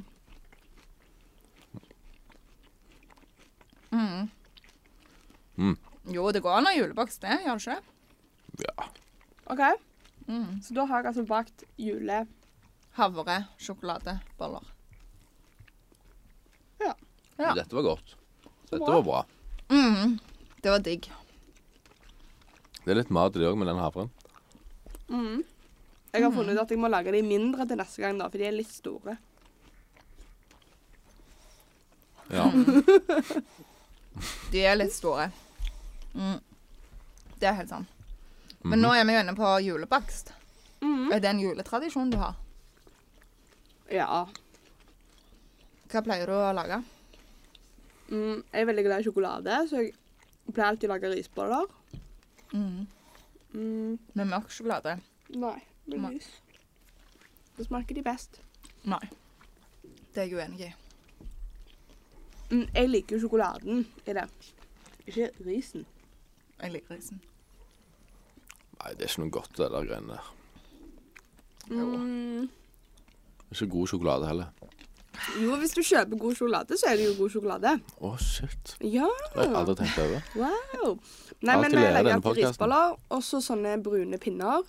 Mm.
Jo, det går an å ha juleboks, det, gjør det ikke det?
OK.
Mm.
Så da har jeg altså bakt jule...
Havre, sjokoladeboller. Ja.
Dette var godt. Dette
bra.
var bra.
Mm. Det var digg.
Det er litt mat i det òg med den havren.
Mm. Jeg har funnet ut at jeg må lage de mindre til neste gang, da, for de er litt store.
Ja.
De er litt store. Mm. Det er helt sant. Men
Mhm.
nå er vi jo inne på julebakst.
Mhm.
Er det en juletradisjon du har?
Ja.
Hva pleier du å lage?
Mm, jeg er veldig glad i sjokolade, så jeg pleier alltid å lage risboller.
Mm.
Mm,
Med mørk sjokolade?
nei, med
Nei.
lys. Da smaker de best.
Nei. Det er jeg uenig i.
Mm, jeg liker jo sjokoladen i det. Ikke risen.
Jeg liker risen.
Nei, det er ikke noe godt, det der greiene der.
Mm,
Det er Ikke god sjokolade heller.
jo, hvis du kjøper god sjokolade, så er det jo god sjokolade.
Å, shit.
Ja,
Det har jeg aldri tenkt over.
wow. Nei,
Alltid
men
lærer
jeg legger
denne
alltid
podcasten.
risboller, og så sånne brune pinner.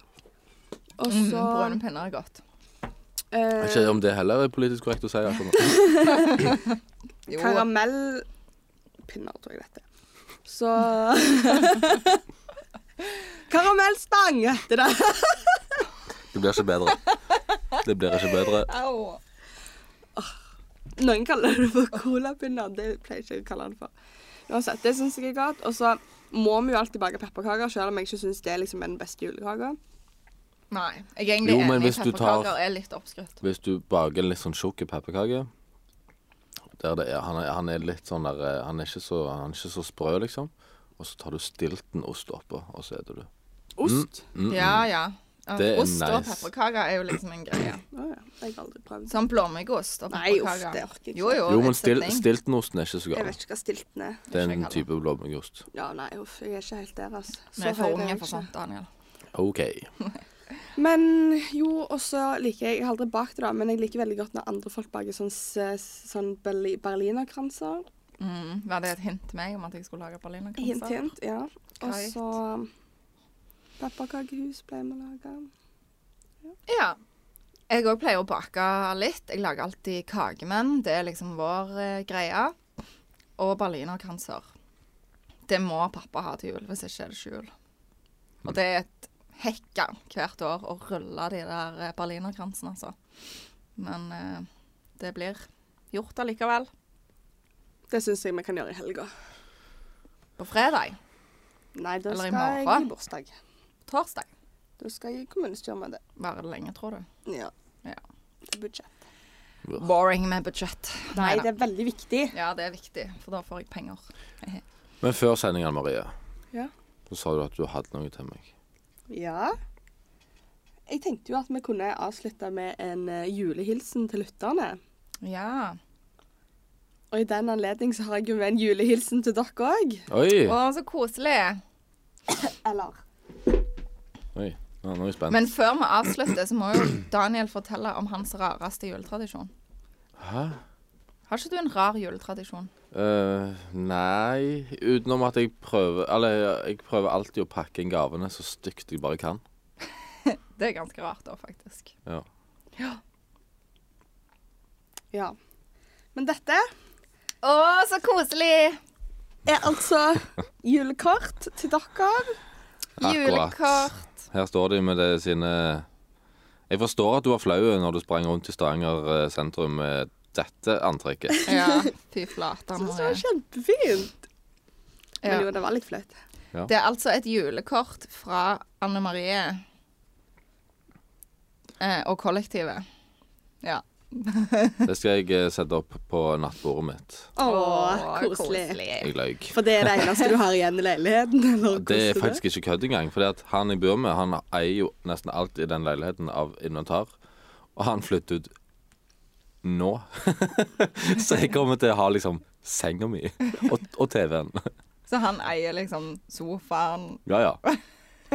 Og
Mm,
så
brune pinner er godt.
Jeg
eh,
vet ikke om det heller er politisk korrekt å si. akkurat nå.
Jo.
Karamellpinner, tror jeg dette. Så Karamellstang heter det.
Det blir ikke bedre. Det blir ikke bedre.
Au.
Noen kaller det for colapinner. Det pleier ikke jeg å kalle det for. Uansett, det syns jeg er godt. Og så må vi jo alltid bake pepperkaker, selv om jeg ikke syns det er liksom den beste julekaka.
Nei. Jeg er egentlig
Jo,
enig
men
i
hvis du tar-
pepperkaker er litt oppskrytt.
Hvis du baker en litt sånn tjukk pepperkake der det er, han, er, han er litt sånn der eh, han er, ikke så, han er ikke så sprø, liksom. Og så tar du stilten ost oppå, og så spiser du.
Ost.
Mm,
Ja, ja.
Det er
ost og
nice.
pepperkaker er jo liksom en greie.
Å ja. Det har jeg aldri prøvd.
Sånn blåmuggost og
Nei, uff,
pepperkaker.
det orker jeg ikke.
Jo, jo,
Jo, men
it's a
stil,
thing.
stiltenosten er ikke så
Jeg
gal.
vet ikke hva stilten er.
Det er
ikke
en
jeg
type blåmuggost.
Ja, nei, uff. Jeg er ikke helt der, altså.
Vi er
høy
for
er
unge
jeg
for sånn.
ikke.
sånt, Daniel.
OK.
Men jo, og så liker jeg Jeg har aldri bakt det, da, men jeg liker veldig godt når andre folk baker sånn, s- sånn berli- berlinerkranser.
Mm. Var det et hint til meg om at jeg skulle lage berlinerkranser?
Hint, hint. Ja. Og
Greit.
så Pepperkakehus pleier vi å lage.
Ja. Jeg òg pleier å bake litt. Jeg lager alltid kakemenn. Det er liksom vår eh, greie. Og berlinerkranser. Det må pappa ha til jul, hvis ikke er det ikke jul. Og det er et hekka hvert år å rulle de der eh, berlinerkransene, altså. Men eh, det blir gjort allikevel.
Det syns jeg vi kan gjøre i helga.
På fredag.
Nei, da
Eller i
skal jeg
morgen.
i bursdag.
Torsdag.
Da skal jeg i kommunestyret med det.
Varer det lenge, tror du?
Ja.
Ja.
Det er budsjett.
Boring med budsjett.
Nei,
Neida.
det er veldig viktig.
Ja, det er viktig, for da får jeg penger.
Men før sendingen, Marie,
Ja.
så sa du at du hadde noe til meg.
Ja. Jeg tenkte jo at vi kunne avslutte med en eh, julehilsen til lytterne.
Ja.
Og i den anledning så har jeg jo med en julehilsen til dere òg.
Oi!
Å, så koselig.
Eller?
Oi. Nå, nå er jeg spent.
Men før vi avslutter, så må jo Daniel fortelle om hans rareste juletradisjon.
Hæ?
Har ikke du en rar juletradisjon?
Eh, nei, utenom at jeg prøver Eller jeg prøver alltid å pakke inn gavene så stygt jeg bare kan.
Det er ganske rart, da, faktisk.
Ja.
Ja. Men dette
Å, så koselig!
er altså julekort til dere.
Akkurat.
Julekort.
Her står de med det sine Jeg forstår at du var flau når du sprang rundt i Stavanger eh, sentrum med dette antrekket.
Ja, fy flate.
Jeg synes det
Marie.
var kjempefint. Men jo,
Ja.
det var litt flaut.
Det er altså et julekort fra Anne Marie eh, og kollektivet. Ja.
Det skal jeg eh, sette opp på nattbordet mitt.
Å,
Å,
koselig.
Jeg løy.
For det er det eneste du har igjen i leiligheten? Eller
Det er
hvordan
faktisk ikke kødd engang. For han jeg bor med, han eier jo nesten alt i den leiligheten av inventar. Og han flytter ut nå. så jeg kommer til å ha liksom senga mi og, og TV-en.
Så han eier liksom sofaen.
Ja, ja.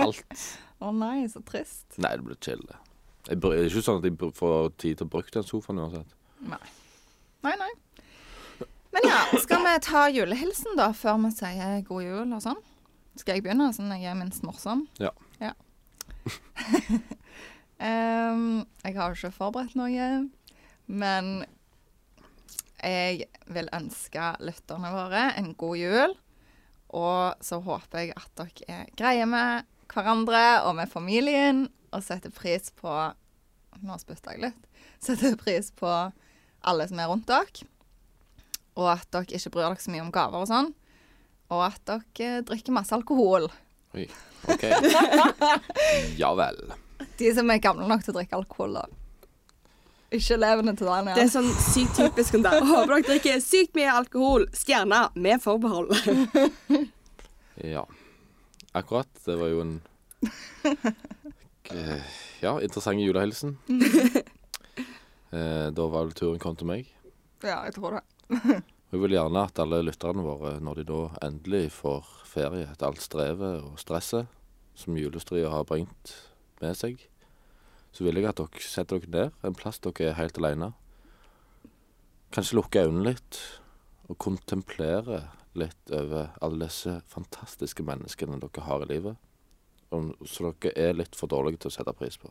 Alt.
Å nei, så trist.
Nei, det blir chill, det. Jeg br- Det er ikke sånn at jeg br- får tid til å bruke den sofaen uansett.
Nei. Nei, nei. Men ja, skal vi ta julehilsen da, før vi sier god jul og sånn? Skal jeg begynne, sånn jeg er minst morsom?
Ja.
ja. Em, jeg har jo ikke forberedt noe, men jeg vil ønske lytterne våre en god jul. Og så håper jeg at dere er greie med hverandre og med familien, og setter pris på Nå spytta jeg litt. Setter pris på alle som er rundt dere. Og at dere ikke bryr dere så mye om gaver og sånn. Og at dere eh, drikker masse alkohol.
Oi, OK. Ja vel.
De som er gamle nok til å drikke alkohol, da. Ikke elevene til Daniel.
Det er sånn sykt typisk om det. Håper dere drikker sykt mye alkohol. Stjerner med forbehold.
Ja. Akkurat. Det var jo en Eh, Ja, interessant julehilsen. Eh, Da var vel turen kom til meg.
Ja, jeg tror det.
Og Jeg vil gjerne at alle lytterne våre, når de da endelig får ferie etter alt strevet og stresset som julestria har bringt med seg, så vil jeg at dere setter dere ned en plass dere er helt alene. Kanskje lukke øynene litt og kontemplere litt over alle disse fantastiske menneskene dere har i livet, om- så dere er litt for dårlige til å sette pris på.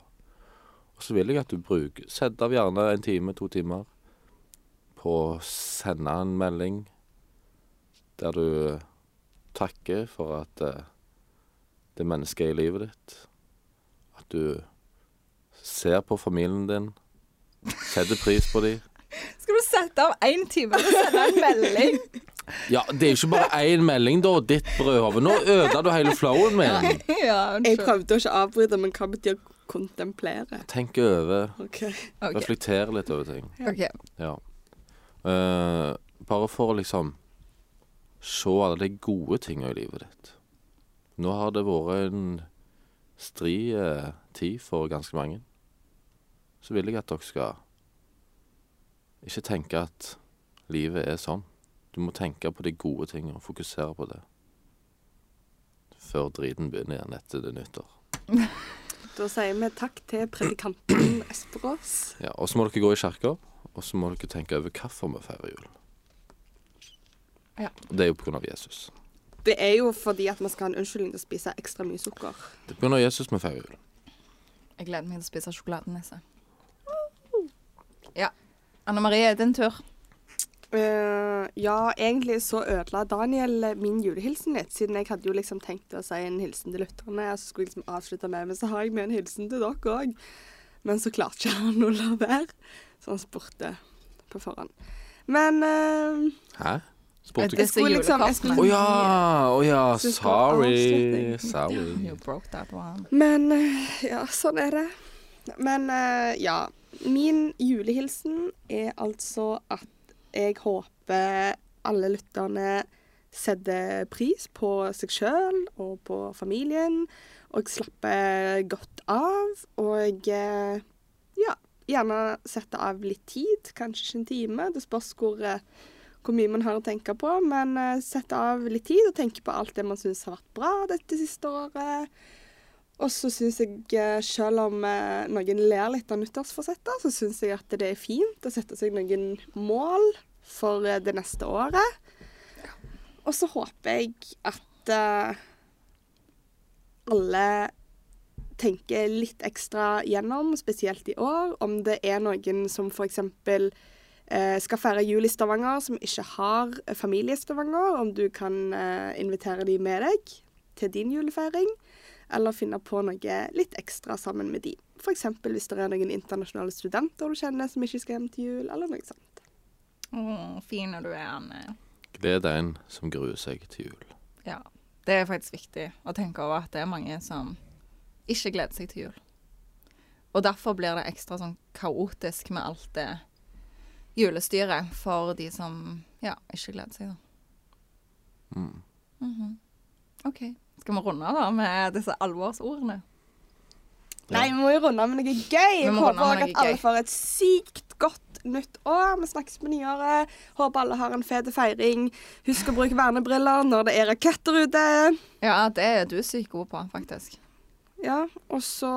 Og så vil jeg at du bruker Sett av gjerne en time, to timer på å sende en melding der du eh, takker for at eh, det er mennesket i livet ditt. At du ser på familien din, setter pris på dem.
Skal du sette av én time til å sende en melding?
Ja, det er jo ikke bare én melding, da, ditt brødhove. Nå ødela du hele flowen min.
ja,
Jeg
unnskyld.
prøvde å ikke avbryte, men hva betyr kontemplere?
Tenk over,
Ok.
OK.
reflekter litt over ting.
ok.
Ja. Eh, bare for å liksom se alle de gode tinga i livet ditt. Nå har det vært en stri eh, tid for ganske mange. Så vil jeg at dere skal ikke tenke at livet er sånn. Du må tenke på de gode tinga og fokusere på det. Før driten begynner igjen etter det nyttår.
Da sier vi takk til predikanten Esperås.
Ja, og så må dere gå i kirka, og så må dere tenke over hvorfor vi feirer jul.
Ja.
Og det er jo på grunn av Jesus.
Det er jo fordi at man skal ha en unnskyldning til å spise ekstra mye sukker.
Det er på grunn av Jesus vi feirer jul.
Jeg gleder meg til å spise sjokoladenisse. Ja. Anne Marie, din tur.
Eh, ja, egentlig så ødela Daniel eh, min julehilsen litt, siden jeg hadde jo liksom tenkt å si en hilsen til lytterne, og så skulle jeg liksom avslutte med, men så har jeg med en hilsen til dere òg. Men så klarte ikke han å la være, så han spurte på forhånd. Men eh,
Hæ? Spurte
Det
jeg
er
jeg skulle liksom
julekortene.
jeg
Å
skulle,
ja, å ja,
Så skal
sorry.
avslutning.
You
Sorry.
broke that one.
Men eh, ja, sånn er det. Men eh, ja. Min julehilsen er altså at jeg håper alle lytterne setter pris på seg sjøl og på familien, og slapper godt av. Og eh, ja, gjerne sette av litt tid, kanskje ikke en time. Det spørs hvor, eh, hvor mye man har å tenke på, men eh, sette av litt tid og tenke på alt det man syns har vært bra dette siste året. Og så syns jeg, eh, selv om eh, noen ler litt av nyttårsforsetter, så syns jeg at det er fint å sette seg noen mål for eh, det neste året. Og så håper jeg at eh, alle tenker litt ekstra gjennom, spesielt i år, om det er noen som f.eks. Eh, skal feire jul i Stavanger, som ikke har familie i Stavanger, om du kan eh, invitere de med deg til din julefeiring eller finne på noe litt ekstra sammen med de. F.eks. hvis det er noen internasjonale studenter du kjenner som ikke skal hjem til jul, eller noe sånt.
Å, fin du er, Anne.
Gled deg en som gruer seg til jul.
Ja. Det er faktisk viktig å tenke over at det er mange som ikke gleder seg til jul. Og derfor blir det ekstra sånn kaotisk med alt det julestyret for de som ja, ikke gleder seg. da.
Mm.
Mhm. OK. Skal vi runde da med disse alvorsordene?
Ja.
Nei, vi må jo runde av med noe gøy.
Vi
Jeg
må runde av
håper
med
også
noe
at alle
gøy.
får et sykt godt nytt år. Vi snakkes på nyåret. Håper alle har en fet feiring. Husk å bruke vernebriller når det er raketter ute.
Ja, det er du sykt god på, faktisk.
Ja, og så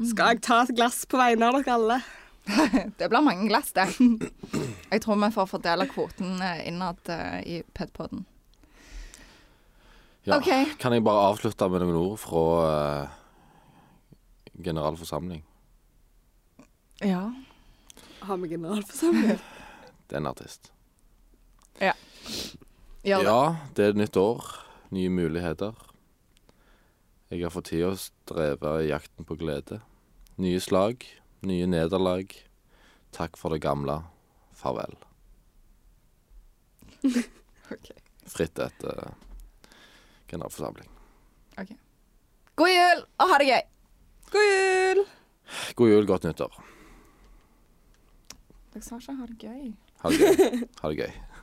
skal jeg ta et glass på vegne av dere alle.
Det blir mange glass, det. Jeg tror vi får fordele kvoten eh, innad eh, i Pedpoden.
Ja.
Ok.
Kan jeg bare avslutte med noen ord fra eh, generalforsamling?
Ja.
Har vi generalforsamling?
Det er en artist.
Gjør det.
Ja, det er et nytt år. Nye muligheter. Jeg har for tida strevet i jakten på glede. Nye slag, nye nederlag. Takk for det gamle. Farvel.
Ok.
Fritt etter generalforsamling.
God jul, og ha det gøy!
God jul!
God jul, godt nyttår.
Dere sa ikke ha det gøy.
Ha det gøy. Ha det gøy.